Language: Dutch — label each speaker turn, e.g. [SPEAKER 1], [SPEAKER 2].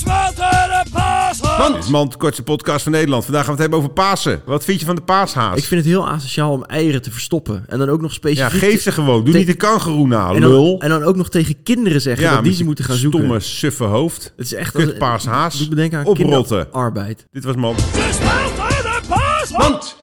[SPEAKER 1] Paaswater, paashaas.
[SPEAKER 2] Want, mand, kortste podcast van Nederland. Vandaag gaan we het hebben over Pasen. Wat vind je van de paashaas?
[SPEAKER 3] Ik vind het heel asociaal om eieren te verstoppen. En dan ook nog
[SPEAKER 2] ja,
[SPEAKER 3] specifiek...
[SPEAKER 2] geef ze gewoon. Doe
[SPEAKER 3] Te-
[SPEAKER 2] niet de kangeroe na,
[SPEAKER 3] en dan,
[SPEAKER 2] lul.
[SPEAKER 3] en dan ook nog tegen kinderen zeggen
[SPEAKER 2] Ja,
[SPEAKER 3] dat die
[SPEAKER 2] met
[SPEAKER 3] ze moeten gaan zoeken.
[SPEAKER 2] Stomme, suffe hoofd.
[SPEAKER 3] Het is echt...
[SPEAKER 2] Kut paashaas.
[SPEAKER 3] Doet me denken aan
[SPEAKER 2] Oprotten.
[SPEAKER 3] kinderarbeid.
[SPEAKER 2] Dit was man.
[SPEAKER 1] Het is Paaswater, paashaas.